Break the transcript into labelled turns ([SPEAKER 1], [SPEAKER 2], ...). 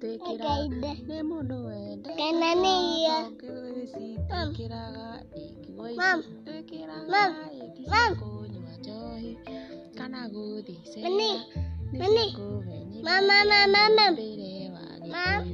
[SPEAKER 1] twĩkĩraga nĩ mũndũ
[SPEAKER 2] Kana nĩ iria.
[SPEAKER 1] ũkĩci
[SPEAKER 2] Mam.
[SPEAKER 1] twĩkĩraga ĩkigwa
[SPEAKER 2] Mam.
[SPEAKER 1] twĩkĩraga
[SPEAKER 2] Mam.
[SPEAKER 1] ĩki
[SPEAKER 2] Mam.
[SPEAKER 1] kũnyua njohi kana gũthiĩ
[SPEAKER 2] Mami.
[SPEAKER 1] cera
[SPEAKER 2] Mami.
[SPEAKER 1] nĩ kũgenyithia
[SPEAKER 2] Mama, mama, mama.
[SPEAKER 1] mbĩre wa
[SPEAKER 2] Mam.
[SPEAKER 1] Gĩkũyũ